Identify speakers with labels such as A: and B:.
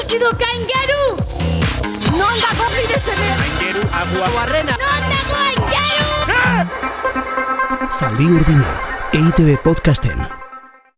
A: Azido kangaru! Non dago eh? bide zede!
B: Aingeru, agua, barrena.
A: Non dago angaru!
C: Zaldi urdina, EITB podcasten.